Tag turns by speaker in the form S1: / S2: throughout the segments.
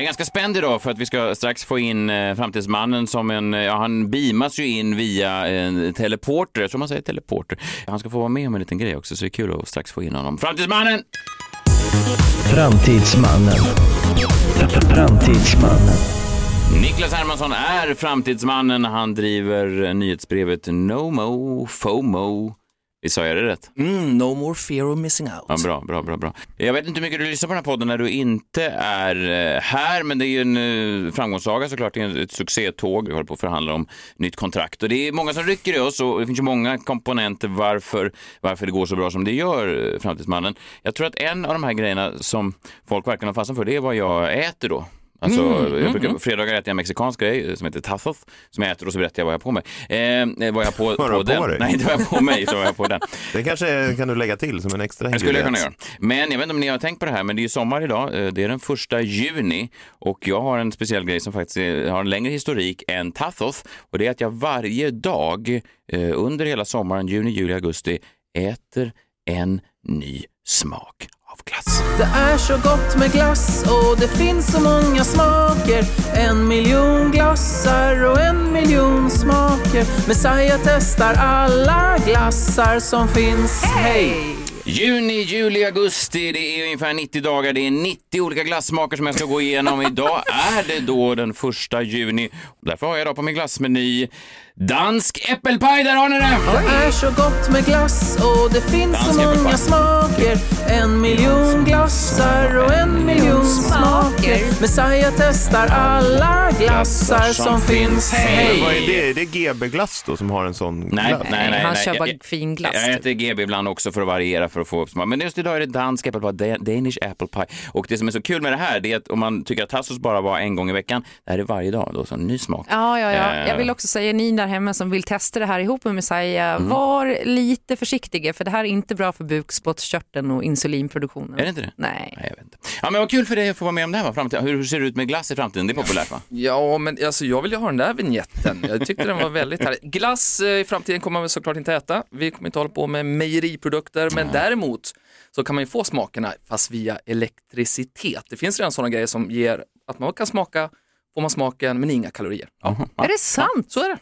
S1: ganska spänd idag för att vi ska strax få in eh, Framtidsmannen som en, eh, ja han beamas ju in via en teleporter, jag tror man säger teleporter. Han ska få vara med om en liten grej också så det är kul att strax få in honom. Framtidsmannen!
S2: Framtidsmannen. Framtidsmannen.
S1: Niklas Hermansson är Framtidsmannen, han driver nyhetsbrevet NOMO FOMO. Vi sa jag det rätt?
S3: Mm, no more fear of missing out.
S1: Ja, bra, bra, bra, bra. Jag vet inte hur mycket du lyssnar på den här podden när du inte är eh, här, men det är ju en eh, framgångssaga såklart. Det är ett succétåg. Vi håller på att förhandla om nytt kontrakt och det är många som rycker i oss och det finns ju många komponenter varför, varför det går så bra som det gör, eh, Framtidsmannen. Jag tror att en av de här grejerna som folk verkligen har fastnat för, det är vad jag äter då. Alltså,
S4: Mm,
S1: jag brukar, på fredagar äter jag en mexikansk grej eh, som heter tacos som jag äter och så berättar jag vad jag har på mig. Eh, vad jag har på,
S4: Vad du har på
S1: den.
S4: dig?
S1: Nej, inte vad jag har på mig, så vad jag har på den.
S4: Det kanske kan du lägga till som en extra
S1: Det skulle jag kunna
S4: ingrediens.
S1: göra. Men jag vet inte om ni har tänkt på det här, men det är ju sommar idag. Eh, Det är den första juni och jag har en speciell grej som faktiskt eh, har en längre historik än Tathoth och det är att jag varje dag eh, under hela sommaren, juni, juli, augusti, äter en ny smak av glass.
S3: Det är så gott med glass och det finns så många smaker. En miljon glassar och en miljon smaker. Messiah testar alla glassar som finns. Hej!
S1: Juni, juli, augusti, det är ungefär 90 dagar. Det är 90 olika glassmaker som jag ska gå igenom. Idag är det då den första juni. Därför har jag idag på min glassmeny dansk äppelpaj. Där har ni det!
S3: Det är så gott med glass och det finns så
S1: Dansk är
S3: många
S1: förpackad.
S3: smaker. En miljon glassar och en miljon smaker. Messiah testar alla glassar som finns.
S1: Hej!
S3: Hej!
S4: Vad är det? Är det GB-glass då som har en sån
S1: Nej,
S4: glass?
S1: nej, nej, nej.
S5: han kör bara
S1: Jag-
S5: fin glass,
S1: Jag,
S5: typ.
S1: äter GB ibland också för att variera för att få upp smak. Men just idag är det dansk apple pie, da- Danish apple pie. Och det som är så kul med det här det är att om man tycker att tassos bara var en gång i veckan, det här är varje dag då, så en ny smak.
S5: Ja, ja, ja.
S1: Eh. Mm.
S5: Jag vill också säga ni där hemma som vill testa det här ihop med Messiah, var lite försiktiga för det här är inte bra för bukspottkörteln och insulinproduktionen.
S1: Är det inte det?
S5: Nej.
S1: Nej, jag vet inte. Ja, men vad kul för dig att få vara med om det här va? Framtiden. Hur hur ser det ut med glass i framtiden? Det är populärt va?
S3: Ja, men alltså, jag vill ju ha den där vignetten. Jag tyckte den var väldigt härlig. Glass eh, i framtiden kommer man såklart inte äta. Vi kommer inte hålla på med mejeriprodukter, men däremot så kan man ju få smakerna fast via elektricitet. Det finns redan sådana grejer som ger att man kan smaka, får man smaken, men inga kalorier.
S1: Jaha. Ja. Mm.
S5: Är det sant?
S3: Så är det.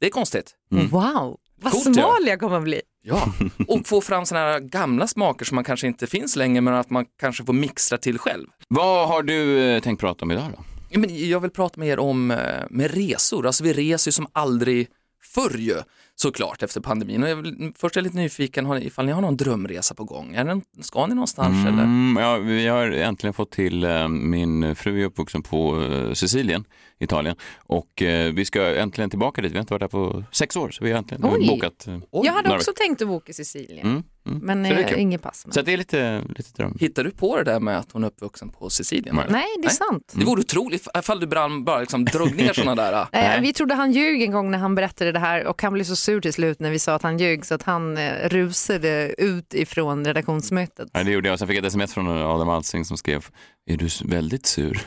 S3: Det är konstigt.
S5: Wow, vad
S3: Coolt,
S5: smal jag kommer att bli.
S3: Ja, och få fram sådana här gamla smaker som man kanske inte finns längre, men att man kanske får mixtra till själv.
S1: Vad har du eh, tänkt prata om idag då?
S3: Ja, men jag vill prata med er om eh, med resor. Alltså vi reser ju som aldrig förr ju, såklart efter pandemin. Och jag vill, mm, först är jag lite nyfiken har ni, ifall ni har någon drömresa på gång. Är den, ska ni någonstans eller?
S1: Mm, ja, vi har äntligen fått till, eh, min fru är uppvuxen på eh, Sicilien, Italien och eh, vi ska äntligen tillbaka dit. Vi har inte varit där på sex år så vi har äntligen
S5: Oj.
S1: bokat. eh,
S3: Oj,
S5: jag hade
S1: några
S5: också tänkt att boka Sicilien,
S1: Mm, mm.
S5: men
S1: Så det är
S5: eh,
S1: kul.
S5: inget pass. Men.
S1: Så att det är lite, lite dröm.
S3: Hittar du på det där med att hon är uppvuxen på Sicilien?
S1: Nej.
S3: eller?
S5: Nej, det är sant.
S3: Det vore otroligt ifall du brann, bara liksom drog ner sådana där. ah.
S5: Eh, vi trodde han ljög en gång när han berättade det här och han blev så sur till slut när vi sa att han ljög så att han eh, rusade ut ifrån redaktionsmötet.
S1: Ja, det gjorde jag. Sen fick jag ett sms från Adam Alsing som skrev Är du s- väldigt sur?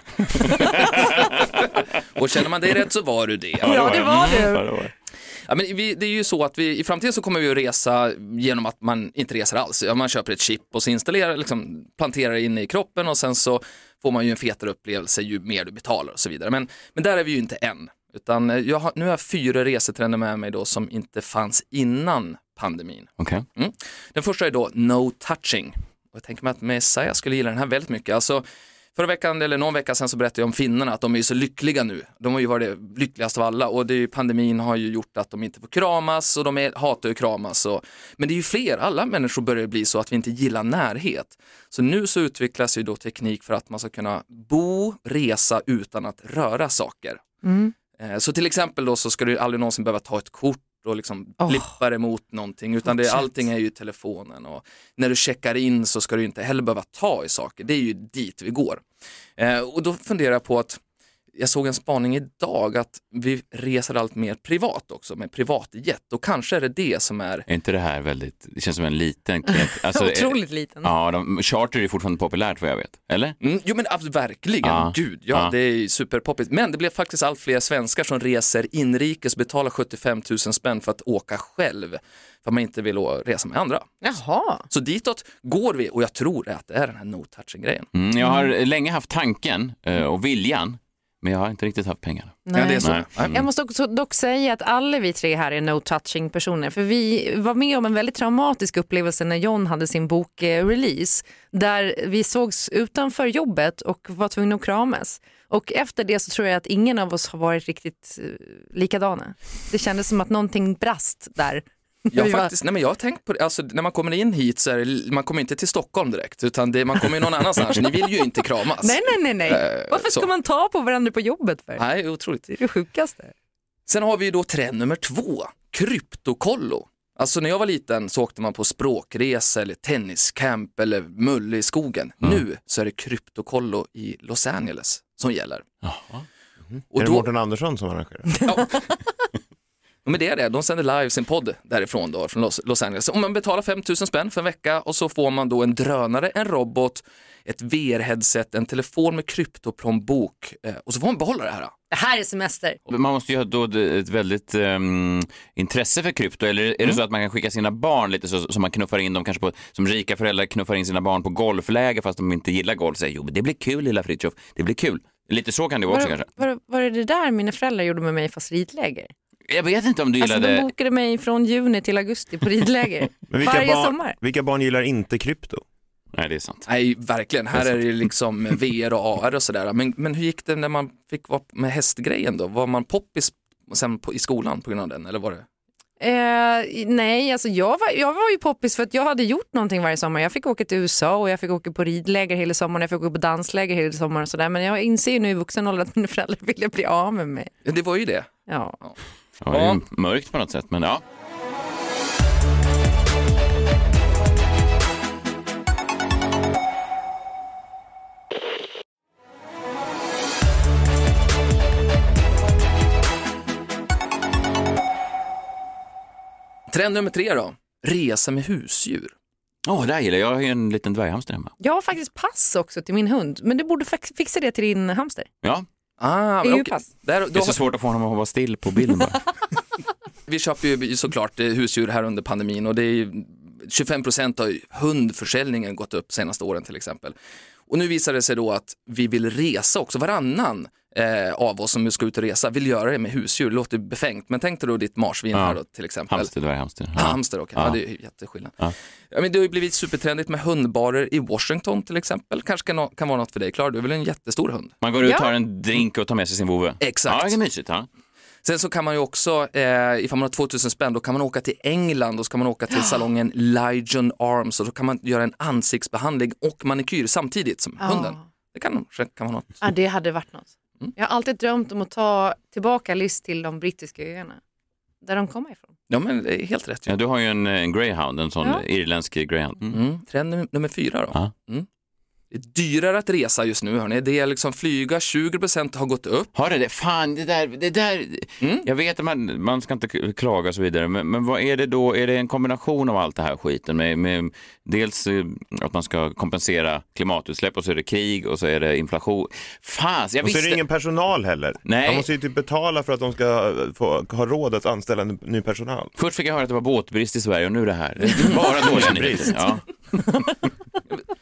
S3: Och känner man dig rätt så var du det.
S5: Ja, det var du.
S1: Ja, det var jag. Mm.
S3: Ja, men vi, det är ju så att vi, i framtiden så kommer vi att resa genom att man inte reser alls. Ja, man köper ett chip och så installerar, liksom, planterar det in i kroppen och sen så får man ju en fetare upplevelse ju mer du betalar och så vidare. Men, men där är vi ju inte än. Utan eh, jag har, nu har jag fyra resetrender med mig då som inte fanns innan pandemin.
S1: Okej.
S3: Mm. Den första är då no touching. Och jag tänker mig att Messiah skulle gilla den här väldigt mycket. Alltså, förra veckan, eller någon vecka sedan, så berättade jag om finnarna, att de är ju så lyckliga nu. De har ju varit det lyckligaste av alla och det är ju, pandemin har ju gjort att de inte får kramas och de är, hatar ju att kramas. Och, men det är ju fler, alla människor börjar ju bli så att vi inte gillar närhet. Så nu så utvecklas ju då teknik för att man ska kunna bo, resa utan att röra saker.
S5: Mm.
S3: Eh, Så till exempel då så ska du aldrig någonsin behöva ta ett kort och liksom
S5: Åh.
S3: blippa det mot någonting utan det,
S5: Fortsätt.
S3: allting är ju i telefonen och när du checkar in så ska du inte heller behöva ta i saker. Det är ju dit vi går. Eh, och då funderar jag på att jag såg en spaning idag att vi reser allt mer privat också med privatjet och kanske är det det som är
S1: Är inte det här väldigt, det känns som en liten knep. Alltså, eh,
S5: Otroligt liten.
S1: Ja, de, charter är fortfarande populärt vad jag vet. Eller?
S3: Mm, jo men ab- verkligen,
S1: Ja.
S3: gud ja,
S1: Ja.
S3: det är ju superpoppigt. Men det blev faktiskt allt fler svenskar som reser inrikes, betalar 75 000 spänn för att åka själv, för att man inte vill å- resa med andra.
S5: Jaha.
S3: Så ditåt går vi och jag tror att det är den här no-touching-grejen.
S1: Mm, jag har länge haft tanken eh, och viljan, men jag har inte riktigt haft pengarna.
S5: Nej.
S3: Ja, det är så.
S1: Nej. Mm.
S3: Nej.
S5: Jag måste också dock säga att alla vi tre här är no-touching personer. För vi var med om en väldigt traumatisk upplevelse när John hade sin bok eh, release. Där vi sågs utanför jobbet och var tvungna att kramas. Och efter det så tror jag att ingen av oss har varit riktigt eh, likadana. Det kändes som att någonting brast där.
S3: Jag,
S5: Vi
S3: har
S5: var-
S3: faktiskt, nej men jag har tänkt på det, alltså, när man kommer in hit så är det, man kommer inte till Stockholm direkt, utan det, man kommer ju någon annanstans. Ni vill ju inte kramas.
S5: Nej, nej, nej, nej.
S3: Eh,
S5: Varför ska
S3: så.
S5: man ta på varandra på jobbet för?
S3: nej otroligt.
S5: Det är det sjukaste.
S3: Sen har vi ju då trend nummer två, kryptokollo. Alltså när jag var liten så åkte man på språkresa eller tenniscamp eller mulle i skogen.
S4: Mm.
S3: Nu så är det kryptokollo i Los Angeles som gäller. Mm-hmm.
S1: Jaha.
S3: Och
S4: är det
S3: då,
S4: Mårten Andersson som arrangerar?
S3: Ja, men det är det, de sänder live sin podd därifrån då, från Los, Los Angeles. Om man betalar 5 000 spänn för en vecka och så får man då en drönare, en robot, ett VR-headset, en telefon med kryptoplånbok eh, och så får man behålla det här.
S5: Det här är semester.
S1: Man måste ju ha då ett väldigt ehm, intresse för krypto, eller är det
S5: Mm.
S1: så att man kan skicka sina barn lite så, så man knuffar in dem kanske på, som rika föräldrar knuffar in sina barn på golfläger fast de inte gillar golf, säger jo men det blir kul lilla Fritiof, det blir kul. Lite så kan det vara också
S5: Var,
S1: kanske.
S5: var, var det det där mina föräldrar gjorde med mig fast ridläger?
S1: Jag vet inte om du
S5: Alltså de
S1: gillade,
S5: bokade mig från juni till augusti på ridläger.
S4: Men vilka,
S5: Varje
S4: barn,
S5: sommar.
S4: vilka barn gillar inte krypto?
S1: nej det är sant.
S3: Nej, verkligen. Här är det ju liksom VR och AR och sådär. Men, men hur gick det när man fick vara med hästgrejen då? Var man poppis sen på, i skolan på grund av den? Eller var det?
S5: Eh, nej, alltså jag var, jag var ju poppis för att jag hade gjort någonting varje sommar. Jag fick åka till USA och jag fick åka på ridläger hela sommaren, jag fick åka på dansläger hela sommaren och sådär. Men jag inser ju nu i vuxen ålder att mina föräldrar ville bli av med mig.
S3: Ja, Det var ju det.
S5: Ja.
S1: Ja, det är ju mörkt på något sätt, men ja.
S3: Trend nummer tre då. Resa med husdjur.
S1: Åh, det här gillar jag. Jag har ju en liten dvärghamster hemma.
S5: Jag har faktiskt pass också till min hund, men du borde fax- fixa det till din hamster.
S1: Ja,
S3: Ah, men okej.
S5: EU-pass.
S3: Där,
S1: det
S3: då
S1: är så svårt att få honom att vara still på bilden bara.
S3: Vi köper ju såklart eh, husdjur här under pandemin och det är ju 25 procent av hundförsäljningen gått upp senaste åren till exempel. Och nu visar det sig då att vi vill resa också. Varannan eh, av oss som nu ska ut och resa vill göra det med husdjur. Det låter befängt, men tänk dig då ditt marsvin här då till exempel.
S1: Hamster, dvärghamster.
S3: Ja. Hamster, okej. Ja.
S1: Ja.
S3: det är ju jätteskillnad.
S1: Ja.
S3: Ja. men det har ju blivit supertrendigt med hundbarer i Washington till exempel. Kanske kan, nå- kan vara något för dig, Klara. Du är väl en jättestor hund?
S1: Man går ut,
S5: Ja.
S1: tar en drink och tar med sig sin vovve.
S3: Exakt.
S1: Ja, det är mysigt. Ja.
S3: Sen så kan man ju också, eh, ifall man har 2000 spänn, då kan man åka till England och så kan man åka till salongen Ligion Arms och då kan man göra en ansiktsbehandling och manikyr samtidigt som hunden. Det kan, kan vara något.
S5: Ja, det hade varit något. Jag har alltid drömt om att ta tillbaka Liz till de brittiska öarna, där de kommer ifrån.
S3: Ja men det är helt rätt.
S1: Ja, du har ju en, en greyhound, en sån
S5: Ja.
S1: irländsk greyhound. Mm.
S3: Mm. Trend num- nummer fyra då.
S1: Ja.
S3: Mm. Det är dyrare att resa just nu hörni. Det är liksom flyga, 20% har gått upp.
S1: Har det det? Fan, det där, det där.
S3: Mm.
S1: Jag vet att man, man ska inte k- klaga och så vidare, men, men vad är det då? Är det en kombination av allt det här skiten? Med, med, dels eh, att man ska kompensera klimatutsläpp och så är det krig och så är det inflation. Fan, jag
S4: Och så är det
S1: visste.
S4: ingen personal heller.
S1: Nej.
S4: Man måste ju typ betala för att de ska eh, få, ha råd att anställa en ny personal.
S1: Först fick jag höra att det var båtbrist i Sverige och nu det här. Det är bara dåliga nyheter. Ja.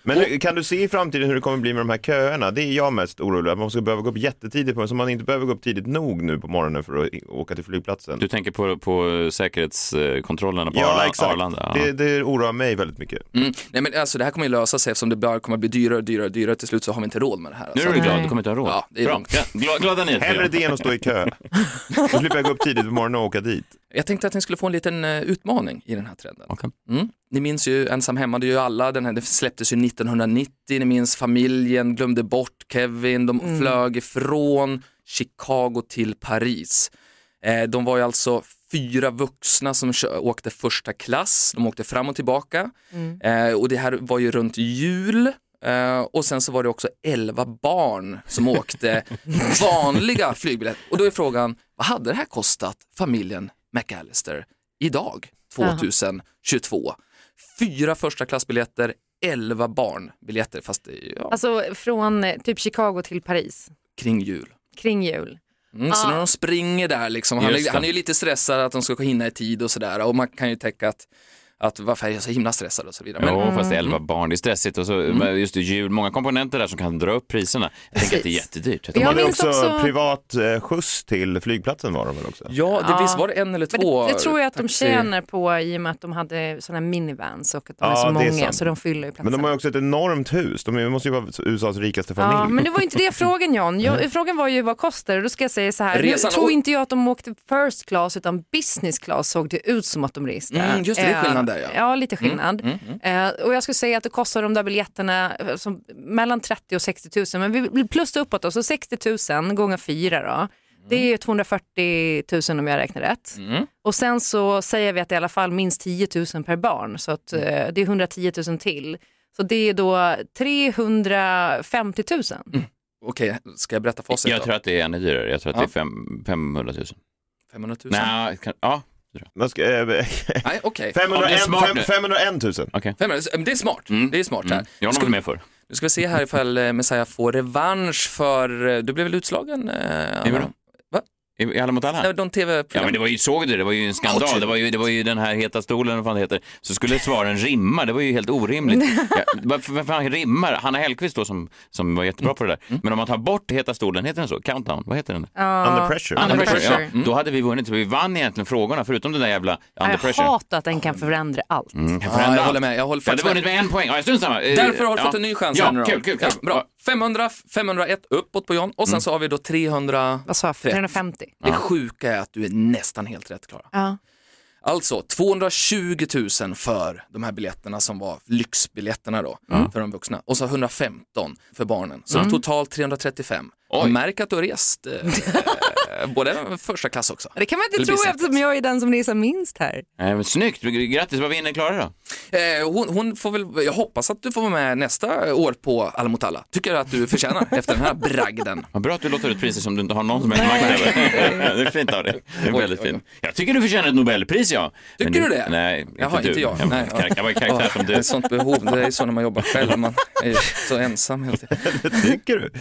S4: Men hur- kan du se i framtiden hur det kommer bli med de här köerna? Det är jag mest orolig att man ska behöva gå upp jättetidigt på så man inte behöver gå upp tidigt nog nu på morgonen för att i- åka till flygplatsen.
S1: Du tänker på, på säkerhetskontrollerna på Arla- Arlanda? Ja.
S4: Det, det oroar mig väldigt mycket.
S3: Mm. Nej men alltså det här kommer ju lösa sig eftersom det bara kommer bli dyrare och dyrare och dyrare. Till slut så har vi inte råd med det här.
S1: Nu är
S3: alltså.
S1: du glad,
S5: Nej.
S1: du kommer inte ha råd.
S3: Ja, det är
S1: Bra.
S3: lugnt.
S1: Ja, gla- glada nyheter.
S4: Hellre det än att stå i kö. Då slipper jag gå upp tidigt på morgonen och åka dit.
S3: Jag tänkte att ni skulle få en liten eh, utmaning i den här trenden.
S1: Okej.
S3: Mm. Ni minns ju Ensam hemma, det gör ju alla, den här det släpptes ju 1990, ni minns familjen, glömde bort Kevin, de flög ifrån Chicago till Paris. Eh, de var ju alltså fyra vuxna som kö- åkte första klass, de åkte fram och tillbaka eh, och det här var ju runt jul Eh, och sen så var det också 11 barn som åkte vanliga flygbiljetter. Och då är frågan, vad hade det här kostat familjen McAllister idag, 2022? Fyra första klassbiljetter, 11 barnbiljetter, fast det är, ja,
S5: Alltså från eh, typ Chicago till Paris,
S3: kring jul.
S5: kring jul.
S3: Mm, Så när de springer där, liksom, han,
S1: Just
S3: är,
S1: det.
S3: han är ju lite stressad att de ska hinna i tid och sådär. Och man kan ju tänka att, att varför är jag så himla stressad och så vidare. Men
S1: Ja, fast 11 barn, det är stressigt. Och så, men Just det, jul, många komponenter där som kan dra upp priserna. Jag tänker att det är
S5: Precis.
S1: jättedyrt.
S5: Ja,
S4: De
S5: Jag
S4: hade
S5: minns
S4: också,
S5: också-
S4: privat eh, skjuts till flygplatsen var de väl också?
S3: ja, det,
S5: Ja.
S3: visst var det en eller
S5: Men det,
S3: två? Mm,
S5: det tror jag att de
S3: taxi-
S5: tjänar på i och med att de hade sådana här minivans och att de är
S4: Ja,
S5: så
S4: det är
S5: många
S4: sant.
S5: så de fyller ju platsen.
S4: Men de har ju också ett enormt hus, de är- måste ju vara USAs rikaste familj.
S5: Ja, men det var ju inte det frågan John.
S4: Mm.
S5: Jag, frågan var ju vad kostar det? Då ska jag säga så här,
S3: Resan-
S5: nu tror inte jag att de åkte first class utan business class såg det ut som att de reste.
S3: Mm, just det, det är
S5: Eh,
S3: skillnad där, ja.
S5: Ja, lite skillnad.
S3: mm,
S5: Eh, och jag skulle säga att det kostar de där biljetterna eh, som, mellan 30 och 60 000, men vi- vi plussar uppåt då, så 60 000 gånger 4 då. Det är ju 240 000 om jag räknar rätt.
S1: Mm.
S3: mm.
S5: Och sen så säger vi att det är i alla fall minst 10 000 per barn, så
S1: Mm.
S5: att, eh, det är 110 000 till. Så det är då 350 000.
S3: Okej, ska jag berätta facit
S1: Jag
S3: då?
S1: tror att det är ännu dyrare. Jag tror att
S3: Ja.
S1: det är fem, 500 000.
S3: 500 000?
S1: Nej, kan, ja.
S4: Man ska, eh,
S3: Nej, okej.
S1: Ja, det är
S4: 501,
S1: smart
S4: fem-
S1: nu.
S4: 501 000.
S3: Fem minuter, men Det är smart.
S1: Mm.
S3: Det är smart
S1: Mm.
S3: här.
S1: Jag har nog
S3: Ska-
S1: varit med förr.
S3: Nu ska vi se här ifall eh, Messiah får revansch för, eh, du blev väl utslagen? Eh,
S1: I vadå?
S3: Anna? Va?
S1: I i Alla mot alla?
S3: Nej, De
S1: Ja men
S3: tv-program.
S1: det var ju, såg du det? Det var ju en skandal. Det var ju, det var ju den här heta stolen, vad fan det heter. Så skulle svaren rimma, det var ju helt orimligt. Ja, varför varför han rimmar? Hanna Hellquist då som, som var jättebra på det där. Men om man tar bort heta stolen, heter den så? Countdown, vad heter den?
S4: Under pressure.
S5: Under pressure.
S1: Ja, Mm. då hade vi vunnit. Så vi vann egentligen frågorna, förutom den där jävla under
S5: Jag
S1: pressure.
S5: hatar att den kan förändra allt.
S1: Mm, kan
S3: Ja,
S1: förändra
S3: jag håller
S1: allt.
S3: med. Jag håller
S1: Jag hade
S3: faktiskt med.
S1: vunnit med en poäng. Ja, strunt samma. Eh,
S3: Därför har du
S1: ja.
S3: fått en ny chans
S1: Ja,
S3: här nu då.
S1: kul, kul, kul. Mm.
S3: Ja, bra. 500, 501 uppåt på John och sen så har vi då 300.
S5: Vad sa jag? 350?
S3: Det sjuka är att du är nästan helt rätt Klara.
S5: Ja.
S3: Alltså 220 000 för de här biljetterna som var lyxbiljetterna då för de vuxna och så 115 för barnen. Så totalt 335.
S1: Mm. Oj.
S3: Och märk att du har rest eh, både första klass också.
S5: Det kan man
S3: Eller
S5: inte tro
S3: business.
S5: eftersom jag är den som reser minst här.
S1: Nej, men eh, snyggt, grattis. Vad vinner Klara då?
S3: Eh, hon, hon får väl, jag hoppas att du får vara med nästa år på Alla mot alla. Tycker att du förtjänar efter den här bragden.
S1: Vad bra att du låter ut priser som du inte har någon som helst makt över. Det är fint av dig. Det är väldigt fint. Jag tycker du förtjänar ett Nobelpris, ja. Men
S3: Tycker du det?
S1: Nej, inte
S3: Jaha,
S1: du.
S3: inte jag.
S1: Jag,
S3: Nej, ja.
S1: jag var i karaktär som du.
S3: Ett sånt behov, det är så när man jobbar själv, man är ju så ensam hela tiden.
S4: Tycker du?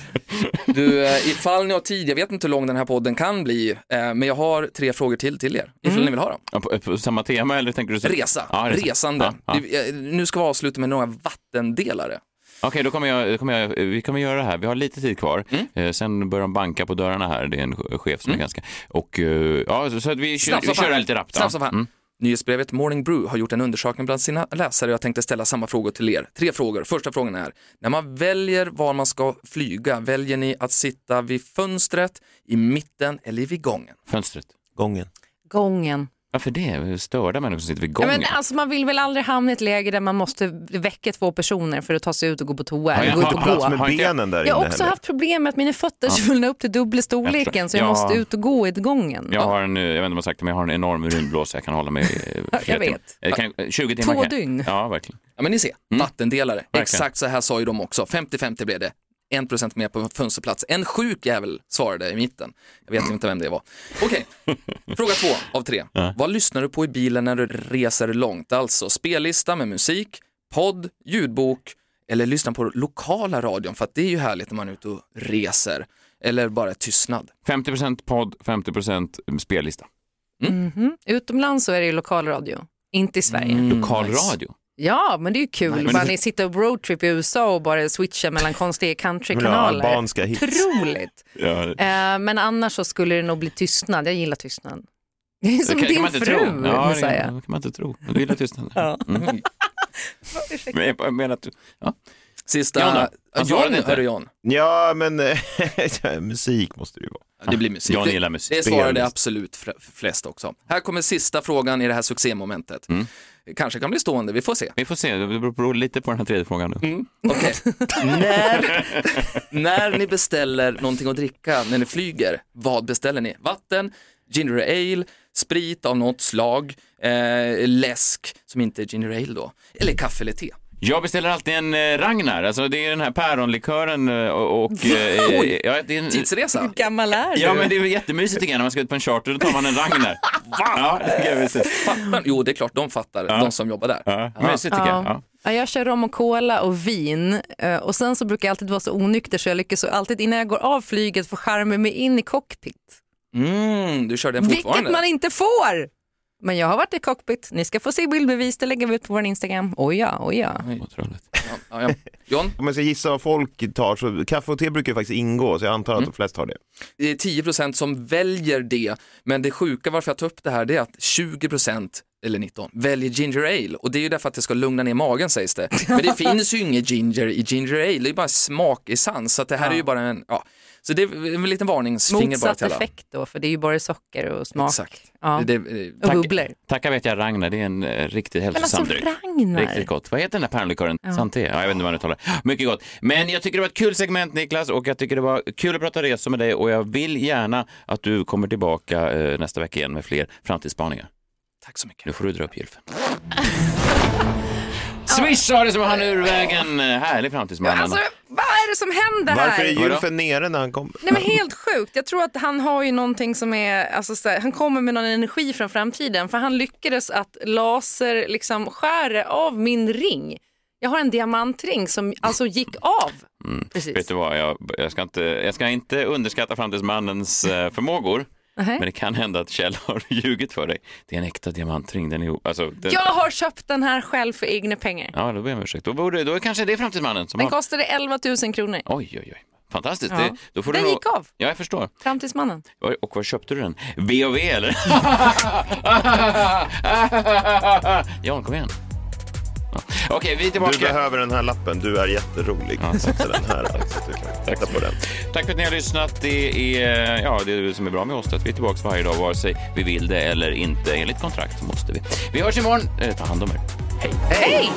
S3: Du, eh, ifall ni har tid, jag vet inte hur lång den här podden kan bli, eh, men jag har tre frågor till till er, ifall ni vill ha dem.
S1: Ja, På, på samma tema eller tänker du? Så...
S3: Resa,
S1: Mm. Ja, resa.
S3: resande.
S1: Ja, ja.
S3: Vi- eh, Nu ska vi avsluta med några vattendelare.
S1: Okej, då kommer jag, då kommer jag, vi kommer göra det här. Vi har lite tid kvar.
S5: Mm.
S1: Eh, sen börjar de banka på dörrarna här. Det är en ch- chef som är ganska... Och eh, ja, så, så att vi, kör,
S3: Snabbt
S1: vi
S3: som fan.
S1: kör lite rappt. ja.
S3: Snabbt som fan.
S1: Mm.
S3: Nyhetsbrevet Morning Brew har gjort en undersökning bland sina läsare och jag tänkte ställa samma frågor till er. Tre frågor. Första frågan är, när man väljer var man ska flyga, väljer ni att sitta vid fönstret, i mitten eller vid gången?
S1: Fönstret.
S4: Gången.
S5: Gången.
S1: Varför det? Störda människor som sitter vid
S5: Ja,
S1: gången.
S5: men, alltså, man vill väl aldrig hamna i ett läge där man måste väcka två personer för att ta sig ut och gå på toa
S1: Ja,
S5: eller
S1: jag
S5: gå ut
S1: har
S5: och
S1: plats
S5: gå.
S4: Plats med
S1: Har inte jag-
S4: benen där
S5: Jag har
S4: inne
S5: också
S4: heller.
S5: haft problem med att mina fötter är svullna upp till dubbla storleken så jag
S1: Ja.
S5: måste ut och gå i gången.
S1: Jag har en, eh, jag vet inte om jag har sagt det, men jag har en enorm urinblåsa. Jag kan hålla mig eh, flera
S5: Jag vet.
S1: timmar. Eh, Kan, eh, 20 timmar
S5: Två
S1: kan jag.
S5: dygn.
S1: Ja, verkligen.
S3: Ja men ni ser,
S1: Mm.
S3: vattendelare. Exakt så här sa ju de också. 50-50 blev det. 1% mer på fönsterplats. En sjuk jävel svarade i mitten. Jag vet inte vem det var. Okej, fråga två av tre. Vad lyssnar du på i bilen när du reser långt? Alltså spellista med musik, podd, ljudbok eller lyssna på lokala radion för att det är ju härligt när man är ute och reser. Eller bara tystnad.
S1: 50 podd, 50 spellista.
S5: Mhm. Utomlands så är det ju lokalradio, inte i Sverige.
S1: Lokal
S3: nice.
S1: radio.
S5: Ja, men det är ju kul.
S1: Mm. Men-
S5: bara ni sitter och roadtrip i USA och bara switchar mellan konstiga
S4: Vill ha
S5: countrykanaler.
S4: albanska hits.
S5: Otroligt.
S1: Ja.
S5: Eh, men annars så skulle det nog bli tystnad. Jag gillar tystnad. Det är som
S1: Det kan, kan
S5: din
S1: man inte
S5: fru,
S1: tro. Ja, det
S5: Messiah.
S1: kan det kan man inte tro. Men Du gillar tystnaden.
S5: Ja.
S1: Mm. Men jag menar att du... Ja.
S3: Sista...
S1: John då? Han svarade
S3: John,
S1: inte.
S3: hörru John.
S4: Ja, men eh, musik måste det ju vara.
S3: Ja, Det blir musik.
S1: John
S3: Det-
S1: gillar musik.
S3: Det svarade
S4: Spellist.
S3: absolut fl- flest också. Här kommer sista frågan i det här succémomentet.
S1: Mm.
S3: Kanske kan bli stående, vi får se.
S1: Vi får se, det beror- beror lite på den här tredje frågan nu.
S3: Okej. när, när ni beställer någonting att dricka när ni flyger, vad beställer ni? Vatten, ginger ale, sprit av något slag, eh, läsk som inte är ginger ale då, eller kaffe eller te.
S1: Jag beställer alltid en eh, Ragnar, alltså det är den här päronlikören eh, och... och eh, eh, ja, det är en,
S3: Tidsresa.
S5: gammal är du?
S1: ja men det är väl jättemysigt tycker jag när man ska ut på en charter, då tar man en Ragnar. Va? Ja, det tycker jag är mysigt.
S3: Fattar, jo, det är klart de fattar, de som jobbar där.
S1: Ja, mysigt tycker jag. Ja.
S5: Ja, jag kör rom och cola och vin eh, och sen så brukar jag alltid vara så onykter så jag lyckas så alltid innan jag går av flyget få charmen mig in i cockpit.
S3: Mm, du kör den fortfarande?
S5: Vilket man inte får! Men jag har varit i cockpit, ni ska få se bildbevis, det lägger vi ut på vår Instagram. Oj ja, oj ja.
S1: Otroligt.
S3: ja, ja. John,
S4: Om jag ska gissa vad folk tar, så kaffe och te brukar ju faktiskt ingå, så jag antar att
S5: Mm.
S4: de flesta har det.
S3: det är 10% eh, som väljer det, men det sjuka varför jag tar upp det här det är att 20% eller 19 väljer ginger ale och det är ju därför att det ska lugna ner magen sägs det. Men det finns ju ingen ginger i ginger ale, det är bara smakessens så att det här är ju bara en, ja. Så det är en liten varningsfinger bara
S5: Motsatt
S3: till alla.
S5: effekt då, för det är ju bara socker och smak.
S3: Exakt.
S5: Ja.
S3: Det, eh, det,
S5: Och bubblor.
S1: Tacka vet jag Ragnar, det är en eh, riktigt
S5: Men alltså
S1: hälsosam dryck.
S5: Ragnar,
S1: Riktigt gott. Vad heter den där pärnlikören? Santé? Ja, jag vet inte vad den uttalar. Mycket gott. Men jag tycker det var ett kul segment Niklas och jag tycker det var kul att prata resor med dig och jag vill gärna att du kommer tillbaka eh, nästa vecka igen med fler framtidsspaningar.
S3: tack så mycket.
S1: Nu får du dra upp gylfen. Swish sa det som han ur vägen. Härlig framtidsman.
S5: alltså vad är det som händer här?
S4: Varför är
S1: Vadå?
S4: gylfen nere när han kommer?
S5: Nej men helt sjukt. Jag tror att han har ju någonting som är, alltså, så här, han kommer med någon energi från framtiden för han lyckades att laser liksom skära av min ring. Jag har en diamantring som alltså gick av.
S1: Mm. Vet
S5: Precis.
S1: du vad, jag, jag, ska inte, jag ska inte underskatta framtidsmannens eh, förmågor.
S5: Nähä.
S1: Men det kan hända att Kjell har ljugit för dig. Det är en äkta diamantring. Den är, alltså, den,
S5: Jag har köpt den här själv för egna pengar.
S1: Ja, då ber jag om ursäkt. Då, borde, då är kanske det är framtidsmannen som
S5: Den
S1: har...
S5: kostade 11 000 kronor.
S1: Oj, oj, oj. Fantastiskt.
S5: Ja.
S1: Det, då får
S5: Den
S1: du
S5: gick av.
S1: Ja, jag förstår.
S5: Framtidsmannen.
S1: Oj, Och var köpte du den? VOV eller? Jan, kom igen. Ja. Okej, vi är
S4: Du
S1: tillbaka.
S4: behöver den här lappen, du är jätterolig. Sätta den här. alltså, så du kan titta på den.
S1: Tack för att ni har lyssnat. Det är, ja, det är det som är bra med oss, att vi är tillbaka varje dag, vare sig vi vill det eller inte. Enligt kontrakt så måste vi. Vi hörs imorgon. Eh, Ta hand om er.
S5: Hej!